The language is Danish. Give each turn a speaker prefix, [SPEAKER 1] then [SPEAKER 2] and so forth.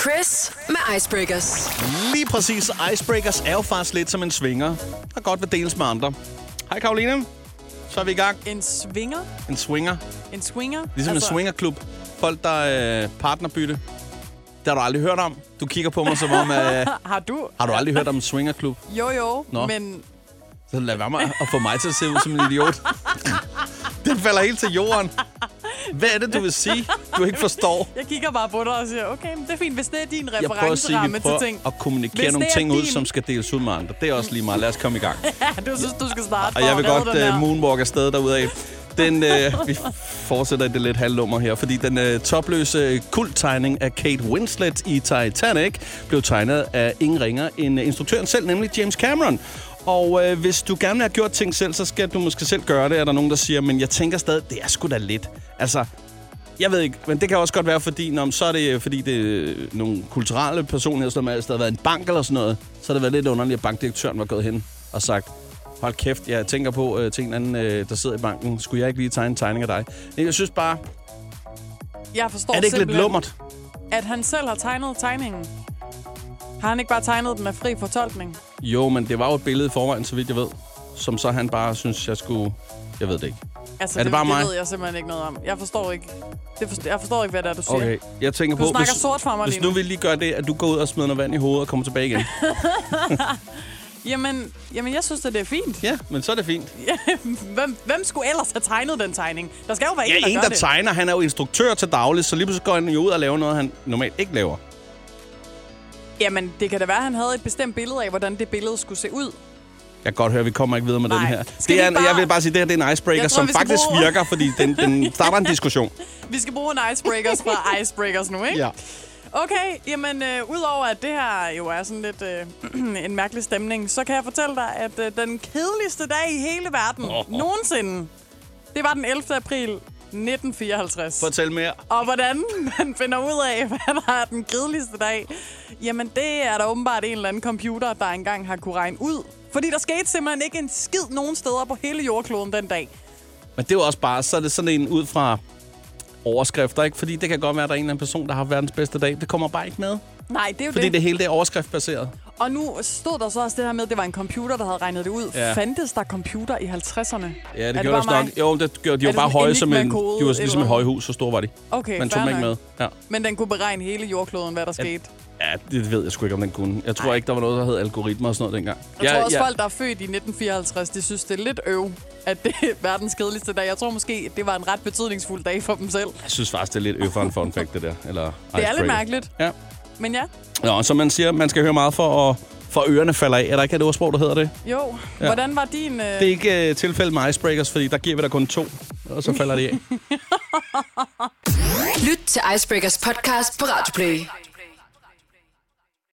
[SPEAKER 1] Chris med Icebreakers.
[SPEAKER 2] Lige præcis. Icebreakers er jo faktisk lidt som en svinger, der godt vil deles med andre. Hej Karoline. Så er vi i gang.
[SPEAKER 3] En swinger?
[SPEAKER 2] En swinger.
[SPEAKER 3] En swinger?
[SPEAKER 2] Ligesom altså... en swingerklub. Folk, der øh, partnerbytte. Det har du aldrig hørt om. Du kigger på mig som om... Øh,
[SPEAKER 3] Har du?
[SPEAKER 2] har du aldrig hørt om en swingerklub?
[SPEAKER 3] Jo, jo,
[SPEAKER 2] Nå.
[SPEAKER 3] Nå. men
[SPEAKER 2] Så lad være med at få mig til at se ud som en idiot. Den falder helt til jorden. Hvad er det, du vil sige, du ikke forstår?
[SPEAKER 3] jeg kigger bare på dig og siger, okay, men det er fint, hvis det er din
[SPEAKER 2] Jeg prøver at sige, at vi
[SPEAKER 3] referenceramme til
[SPEAKER 2] prøver
[SPEAKER 3] ting.
[SPEAKER 2] at kommunikere
[SPEAKER 3] Hvis
[SPEAKER 2] nogle
[SPEAKER 3] det er
[SPEAKER 2] ting ud,
[SPEAKER 3] din-
[SPEAKER 2] som skal deles ud med andre. Det er også lige meget. Lad os komme i gang.
[SPEAKER 3] Ja, du synes, du skal starte
[SPEAKER 2] Og jeg vil
[SPEAKER 3] for at
[SPEAKER 2] godt
[SPEAKER 3] redde den
[SPEAKER 2] uh,
[SPEAKER 3] her.
[SPEAKER 2] moonwalk afsted derudad. Den, øh, vi fortsætter i det lidt halvlummer her, fordi den øh, topløse kulttegning af Kate Winslet i Titanic blev tegnet af ingen ringer end øh, instruktøren selv, nemlig James Cameron. Og øh, hvis du gerne vil have gjort ting selv, så skal du måske selv gøre det, er der nogen, der siger. Men jeg tænker stadig, det er sgu da lidt. Altså, jeg ved ikke, men det kan også godt være, fordi, når, så er det, øh, fordi det er nogle kulturelle personer, som altså, der har været en bank eller sådan noget, så har det været lidt underligt, at bankdirektøren var gået hen og sagt, hold kæft, jeg tænker på øh, til en anden, øh, der sidder i banken, skulle jeg ikke lige tegne en tegning af dig? Men Jeg synes bare,
[SPEAKER 3] Jeg forstår
[SPEAKER 2] er det ikke lidt
[SPEAKER 3] simpelthen,
[SPEAKER 2] lummert?
[SPEAKER 3] at han selv har tegnet tegningen. Har han ikke bare tegnet den af fri fortolkning?
[SPEAKER 2] Jo, men det var jo et billede i forvejen, så vidt jeg ved, som så han bare synes, jeg skulle... Jeg ved det ikke.
[SPEAKER 3] Altså,
[SPEAKER 2] Er det bare
[SPEAKER 3] det
[SPEAKER 2] mig?
[SPEAKER 3] ved jeg simpelthen ikke noget om. Jeg forstår ikke, det forstår, jeg forstår ikke hvad det er, du siger.
[SPEAKER 2] Okay, jeg tænker
[SPEAKER 3] Du
[SPEAKER 2] på...
[SPEAKER 3] snakker sort for mig
[SPEAKER 2] Hvis
[SPEAKER 3] lige nu.
[SPEAKER 2] nu vi lige gør det, at du går ud og smider noget vand i hovedet og kommer tilbage igen.
[SPEAKER 3] Jamen, jamen, jeg synes, at det er fint.
[SPEAKER 2] ja, men så er det fint.
[SPEAKER 3] Hvem, hvem skulle ellers have tegnet den tegning? Der skal jo være
[SPEAKER 2] Ja,
[SPEAKER 3] en, der
[SPEAKER 2] en,
[SPEAKER 3] gør
[SPEAKER 2] der
[SPEAKER 3] det.
[SPEAKER 2] tegner. Han er jo instruktør til daglig, så lige pludselig går han jo ud og laver noget, han normalt ikke laver.
[SPEAKER 3] Jamen, det kan da være, at han havde et bestemt billede af, hvordan det billede skulle se ud.
[SPEAKER 2] Jeg kan godt høre, at vi kommer ikke videre med
[SPEAKER 3] Nej.
[SPEAKER 2] den her.
[SPEAKER 3] Skal
[SPEAKER 2] Det
[SPEAKER 3] vi
[SPEAKER 2] er, en-
[SPEAKER 3] bare-
[SPEAKER 2] Jeg vil bare sige, at det her det er en icebreaker,
[SPEAKER 3] Jeg tror,
[SPEAKER 2] som
[SPEAKER 3] vi skal
[SPEAKER 2] faktisk
[SPEAKER 3] bruge-
[SPEAKER 2] virker, fordi den, den starter en diskussion.
[SPEAKER 3] Vi skal bruge en icebreakers fra icebreakers nu, ikke? Okay, jamen, øh, udover at det her jo er sådan lidt øh, en mærkelig stemning, så kan jeg fortælle dig, at øh, den kedeligste dag i hele verden
[SPEAKER 2] Åh.
[SPEAKER 3] oh. nogensinde, det var den 11. april 1954.
[SPEAKER 2] Fortæl mere.
[SPEAKER 3] Og hvordan man finder ud af, hvad der er den kedeligste dag, jamen det er der åbenbart en eller anden computer, der engang har kunne regne ud. Fordi der skete simpelthen ikke en skid nogen steder på hele jordkloden den dag.
[SPEAKER 2] Men det er jo også bare, så er det sådan en ud fra overskrifter, ikke? Fordi det kan godt være, at der er en eller anden person, der har haft verdens bedste dag. Det kommer bare ikke med,
[SPEAKER 3] Nej, det er jo
[SPEAKER 2] fordi
[SPEAKER 3] det.
[SPEAKER 2] det hele det er overskriftbaseret.
[SPEAKER 3] Og nu stod der så også det her med, at det var en computer, der havde regnet det ud.
[SPEAKER 2] Ja.
[SPEAKER 3] Ja. Fandtes der computer i 50'erne?
[SPEAKER 2] Ja, det, gjorde
[SPEAKER 3] er bare
[SPEAKER 2] det også nok.
[SPEAKER 3] mig?
[SPEAKER 2] Jo, det gjorde de
[SPEAKER 3] Er
[SPEAKER 2] var bare
[SPEAKER 3] det sådan en
[SPEAKER 2] høje som en, de
[SPEAKER 3] enigma-kode,
[SPEAKER 2] var ligesom et
[SPEAKER 3] eller?
[SPEAKER 2] højhus, så store var de.
[SPEAKER 3] Okay,
[SPEAKER 2] Man tog
[SPEAKER 3] fair
[SPEAKER 2] dem ikke med.
[SPEAKER 3] nok.
[SPEAKER 2] Ja.
[SPEAKER 3] Men den kunne beregne hele jordkloden, hvad der skete.
[SPEAKER 2] ja, det ved jeg sgu ikke, om den kunne. Jeg tror ikke, der var noget, der hed algoritmer og sådan noget dengang.
[SPEAKER 3] Jeg ja, tror også, ja. folk, der er født i 1954, de synes, det er lidt øv, at det er verdens kedeligste dag. Jeg tror måske, at det var en ret betydningsfuld dag for dem selv.
[SPEAKER 2] Jeg synes faktisk, det er lidt øfferen fun fact, det der. Eller
[SPEAKER 3] Det er
[SPEAKER 2] icebreaker.
[SPEAKER 3] lidt mærkeligt,
[SPEAKER 2] Ja.
[SPEAKER 3] men ja.
[SPEAKER 2] Nå, så man siger, man skal høre meget for at for ørerne falder af. Er der ikke et ordsprog, der hedder det?
[SPEAKER 3] Jo, ja. hvordan var din... Øh...
[SPEAKER 2] Det er ikke øh, tilfældet med icebreakers, fordi der giver vi dig kun to, og så falder det af.
[SPEAKER 1] Lyt til Icebreakers podcast på Radio Play.